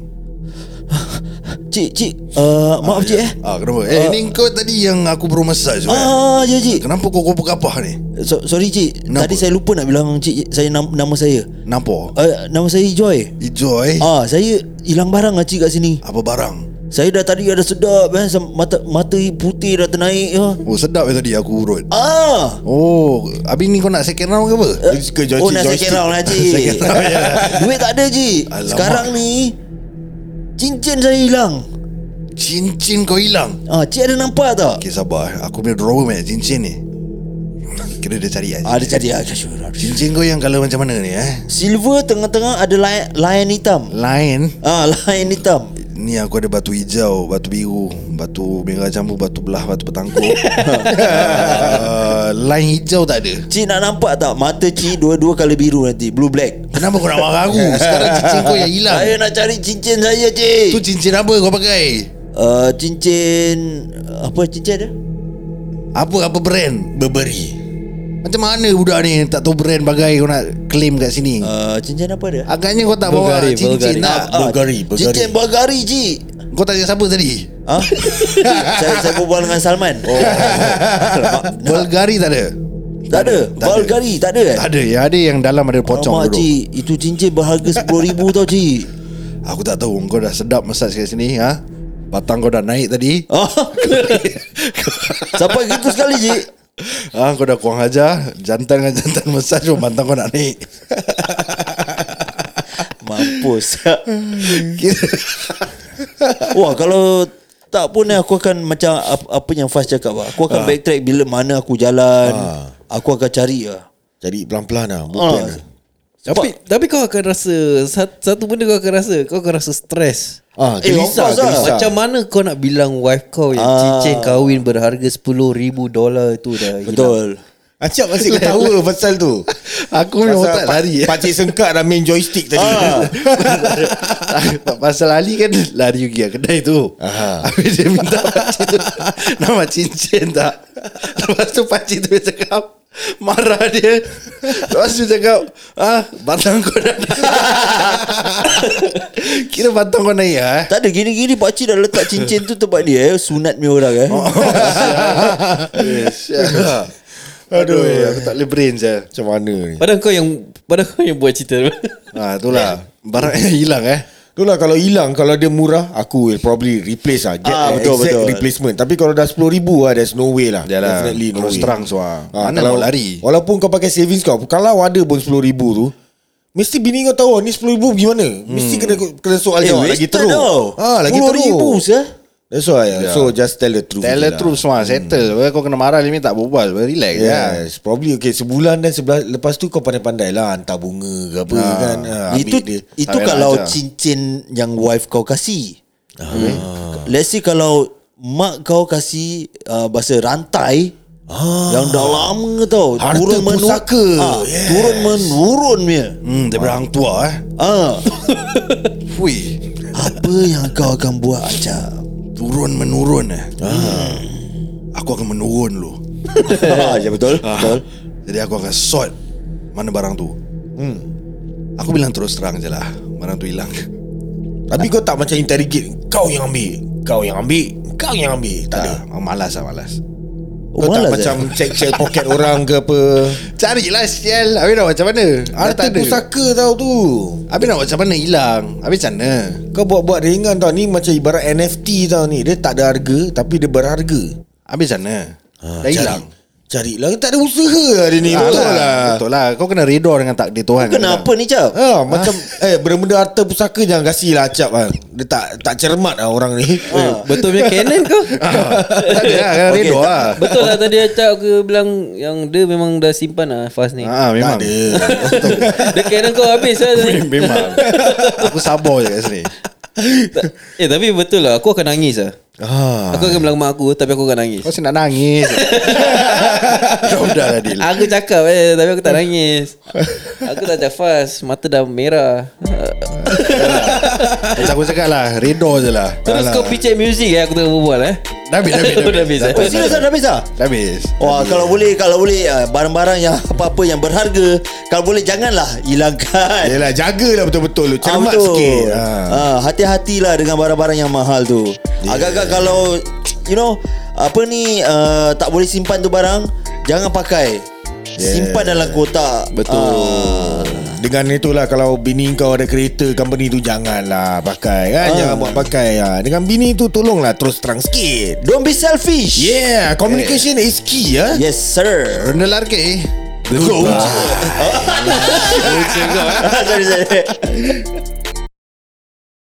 Speaker 3: Cik Cik uh, Maaf cik eh
Speaker 2: Ah kenapa? Eh ni kau tadi yang aku baru massage tu. kan?
Speaker 3: Ah ya cik
Speaker 2: Kenapa kau kopah-kapah ni?
Speaker 3: so, Sorry cik
Speaker 2: Kenapa?
Speaker 3: Tadi saya lupa nak bilang cik Saya nam- nama saya
Speaker 2: Nampak?
Speaker 3: uh, Nama saya Joy
Speaker 2: Ijoy.
Speaker 3: Ah, saya hilang barang lah cik kat sini.
Speaker 2: Apa barang?
Speaker 3: Saya dah tadi ada sedap eh, sam- mata mata putih dah ternaik ya.
Speaker 2: Oh sedap ya tadi aku urut.
Speaker 3: Ah.
Speaker 2: Oh, habis ni kau nak second round ke apa?
Speaker 4: Ke joystick,
Speaker 3: oh, dah
Speaker 4: joystick.
Speaker 3: second round lah cik. Duit tak ada cik.
Speaker 2: Alamak.
Speaker 3: Sekarang ni cincin saya hilang.
Speaker 2: Cincin kau hilang.
Speaker 3: Ah, cik ada nampak tak?
Speaker 2: Okay sabar eh. Aku punya drawer man Cincin ni Kira dia cari
Speaker 3: Ah,
Speaker 2: aja.
Speaker 3: dia cari ah, kasut.
Speaker 2: Cincin kau yang colour macam mana ni eh
Speaker 3: Silver tengah-tengah ada layan, layan hitam.
Speaker 2: Lain
Speaker 3: Ah, layan hitam.
Speaker 2: Ni aku ada batu hijau Batu biru Batu merah campur Batu belah Batu petangkuk uh, Lain hijau tak ada
Speaker 3: Cik nak nampak tak mata cik dua-dua kali biru nanti, blue black.
Speaker 2: Kenapa kau nak marah aku Sekarang cincin kau yang hilang
Speaker 3: Saya nak cari cincin saya
Speaker 2: Tu
Speaker 3: cik.
Speaker 2: cincin apa kau pakai
Speaker 3: Uh, cincin apa cincin dia?
Speaker 2: Apa apa brand Burberry Macam mana budak ni Tak tahu brand bagai Kau nak claim kat sini
Speaker 3: Uh, cincin apa dia?
Speaker 2: Agaknya kau tak bawa
Speaker 1: Bulgari, Bulgari.
Speaker 2: cincin tak
Speaker 3: Ah,
Speaker 4: Bulgari, Bulgari.
Speaker 3: Cincin Bulgari Ji
Speaker 2: Kau tanya siapa tadi
Speaker 3: Ha? saya, saya berbual dengan Salman oh.
Speaker 2: Bulgari tak ada
Speaker 3: Tak ada
Speaker 2: Tak ada.
Speaker 3: Bulgari tak ada eh
Speaker 2: Tak ada Yang ada yang dalam ada pocong
Speaker 3: Alamak
Speaker 2: duduk
Speaker 3: Ji Itu cincin berharga RM10,000 tau Ji
Speaker 2: Aku tak tahu Kau dah sedap massage kat sini ha? Batang kau dah naik tadi
Speaker 3: Ah, Sampai gitu sekali Ji
Speaker 2: ha, Kau dah kurang ajar Jantan dengan jantan massage pun Batang kau nak naik
Speaker 3: Mampus Wah kalau tak pun eh, aku akan macam ap- apa yang Fas cakap lah. Aku akan backtrack bila mana aku jalan. Aku akan cari lah.
Speaker 4: Jadi pelan-pelan lah. Bopian
Speaker 3: Ah.
Speaker 4: lah.
Speaker 1: tapi tapi kau akan rasa sat- satu benda kau akan rasa kau akan rasa stres
Speaker 4: Ah,
Speaker 3: Eh,
Speaker 4: gelisah,
Speaker 3: of course lah.
Speaker 4: gelisah.
Speaker 1: Macam mana kau nak bilang wife kau yang
Speaker 3: Ah.
Speaker 1: cincin kahwin berharga 10000 dolar itu dah hilang?
Speaker 3: Betul.
Speaker 4: Acap masih ketawa pasal tu.
Speaker 2: Aku punya otak lari eh.
Speaker 4: Pakcik sengkak dah main joystick tadi.
Speaker 3: Ha.
Speaker 2: Pasal Ali kan Lari pergi kat kedai tu
Speaker 4: Aha.
Speaker 2: Habis dia minta pakcik tu Nama cincin tak Lepas tu pakcik tu dia cakap Marah dia Lepas tu cakap ah, Batang kau dah naik Kira batang kau naik ah.
Speaker 3: Tak ada gini-gini pakcik dah letak cincin tu tempat dia eh. Sunat punya orang eh.
Speaker 2: lah, Aduh, aku tak boleh brain je.
Speaker 4: Macam mana ni?
Speaker 1: Padahal kau yang padahal kau yang buat cerita.
Speaker 2: Ha, itulah. Barang yang hilang eh.
Speaker 4: Itulah lah, kalau hilang Kalau dia murah Aku will probably replace lah Get
Speaker 3: Ah,
Speaker 4: an
Speaker 3: betul,
Speaker 4: exact
Speaker 3: betul.
Speaker 4: replacement Tapi kalau dah RM10,000 lah There's no way lah Definitely no
Speaker 2: Terus
Speaker 4: way
Speaker 2: terang suara.
Speaker 4: Ah,
Speaker 2: Mana
Speaker 4: kalau-
Speaker 2: mau lari?
Speaker 4: Walaupun kau pakai savings kau Kalau ada pun RM10,000 tu Mesti bini kau tahu "Oh, Ni RM10,000 gimana Mesti kena kena soal
Speaker 3: Eh,
Speaker 4: jawab
Speaker 3: wasted
Speaker 4: Lagi teruk
Speaker 3: tau.
Speaker 4: ah, Lagi teruk
Speaker 3: RM10,000 sah.
Speaker 4: That's why ah. So just tell the truth
Speaker 2: Tell the
Speaker 4: je lah.
Speaker 2: truth semua Settle Kau kena marah Limi tak berbual Relax ya. yeah.
Speaker 4: Yes, probably okay sebulan dan sebelah lepas tu kau pandai-pandai lah hantar bunga ke apa ha. kan. Ha, ambil
Speaker 3: itu
Speaker 4: dia.
Speaker 2: Tak
Speaker 3: itu
Speaker 2: payah
Speaker 3: kalau
Speaker 2: ajar.
Speaker 3: cincin yang wife kau kasih. Ah. Let's say kalau mak kau kasih uh, bahasa rantai ah. yang dah lama tau.
Speaker 4: Harta pusaka.
Speaker 3: Ah,
Speaker 4: Yes.
Speaker 3: Turun menurun punya.
Speaker 2: Hmm, daripada hang tua eh.
Speaker 3: Ah,
Speaker 2: Fui.
Speaker 3: apa yang kau akan buat Acap?
Speaker 2: Turun menurun eh. Hmm. Aku akan menurun lu. Ah.
Speaker 3: ya betul. Betul.
Speaker 2: Jadi aku akan sort mana barang tu. Hmm. Aku bilang terus terang je lah Barang tu hilang
Speaker 4: Tapi kau tak macam interrogate Kau yang ambil Kau yang ambil Kau yang ambil Tak ada
Speaker 2: Tak, malas lah malas
Speaker 3: Oh,
Speaker 4: Kau tak
Speaker 3: malas
Speaker 4: macam
Speaker 3: macam
Speaker 4: check-check poket orang ke apa
Speaker 2: Carilah sial Habis nak buat macam mana Dah
Speaker 4: Arti
Speaker 2: Ah, tak ada.
Speaker 4: pusaka tau tu
Speaker 2: Habis nak buat macam mana hilang Habis macam mana
Speaker 4: Kau buat-buat ringan tau Ni macam ibarat NFT tau ni Dia tak ada harga Tapi dia berharga
Speaker 2: Habis macam mana Dah hilang Ah,
Speaker 4: Cari lah Tak ada usaha hari ni Betul lah
Speaker 2: Betul lah Kau kena redor dengan takdir Tuhan lah.
Speaker 3: Kenapa ni cap?
Speaker 4: Ha, macam
Speaker 2: Ah.
Speaker 4: eh benda-benda harta pusaka jangan kasih lah acap ah. Dia tak tak cermat lah orang ni.
Speaker 2: Ah.
Speaker 4: Ha.
Speaker 1: Betul punya canon kau
Speaker 2: Tak ada lah Kena
Speaker 3: Okey,
Speaker 2: redor
Speaker 3: tak-
Speaker 2: lah
Speaker 1: Betul lah tadi Acap ke bilang Yang dia memang dah simpan lah Fast ni
Speaker 2: Ah, memang
Speaker 4: ada.
Speaker 1: Dia canon kau habis lah tadi.
Speaker 2: Memang Aku sabar je kat sini
Speaker 1: Tak- Eh tapi betul lah Aku akan nangis lah
Speaker 4: Ha.
Speaker 1: Aku akan bilang mak aku Tapi aku akan nangis
Speaker 2: Ah. Kau asyik nak nangis Kau dah lah Dil
Speaker 1: Aku cakap eh Tapi aku tak nangis Aku tak cakap fast Mata dah merah
Speaker 2: Ah, Macam aku cakap lah Redor je lah
Speaker 1: Terus
Speaker 2: Alah.
Speaker 1: kau picit music eh Aku tengah berbual eh
Speaker 2: Dah habis Dah habis,
Speaker 1: Dah habis, eh?
Speaker 3: Oh, serius dah habis dah?
Speaker 2: Dah habis
Speaker 3: Wah,
Speaker 4: eh,
Speaker 3: kalau boleh, kalau boleh ah, barang-barang yang apa-apa yang berharga, kalau boleh janganlah hilangkan.
Speaker 4: Yelah jagalah betul-betul Ya, lu.
Speaker 3: Ah,
Speaker 4: Cermat
Speaker 3: betul.
Speaker 4: sikit. Ha.
Speaker 3: Ah, hati-hatilah dengan barang-barang yang mahal tu.
Speaker 4: Ya.
Speaker 3: Agak-agak kalau you know apa ni uh, tak boleh simpan tu barang, jangan pakai. Simpan dalam kotak. Ah.
Speaker 4: Betul. Dengan itulah kalau bini kau ada kereta company tu janganlah pakai
Speaker 3: Ah.
Speaker 4: kan. Jangan buat pakai ha. Dengan bini tu tolonglah terus terang sikit.
Speaker 3: Don't be selfish. Eh.
Speaker 4: Yeah, communication is key ya.
Speaker 3: Yes sir.
Speaker 2: Rendah larki
Speaker 4: Go.
Speaker 3: sorry sorry.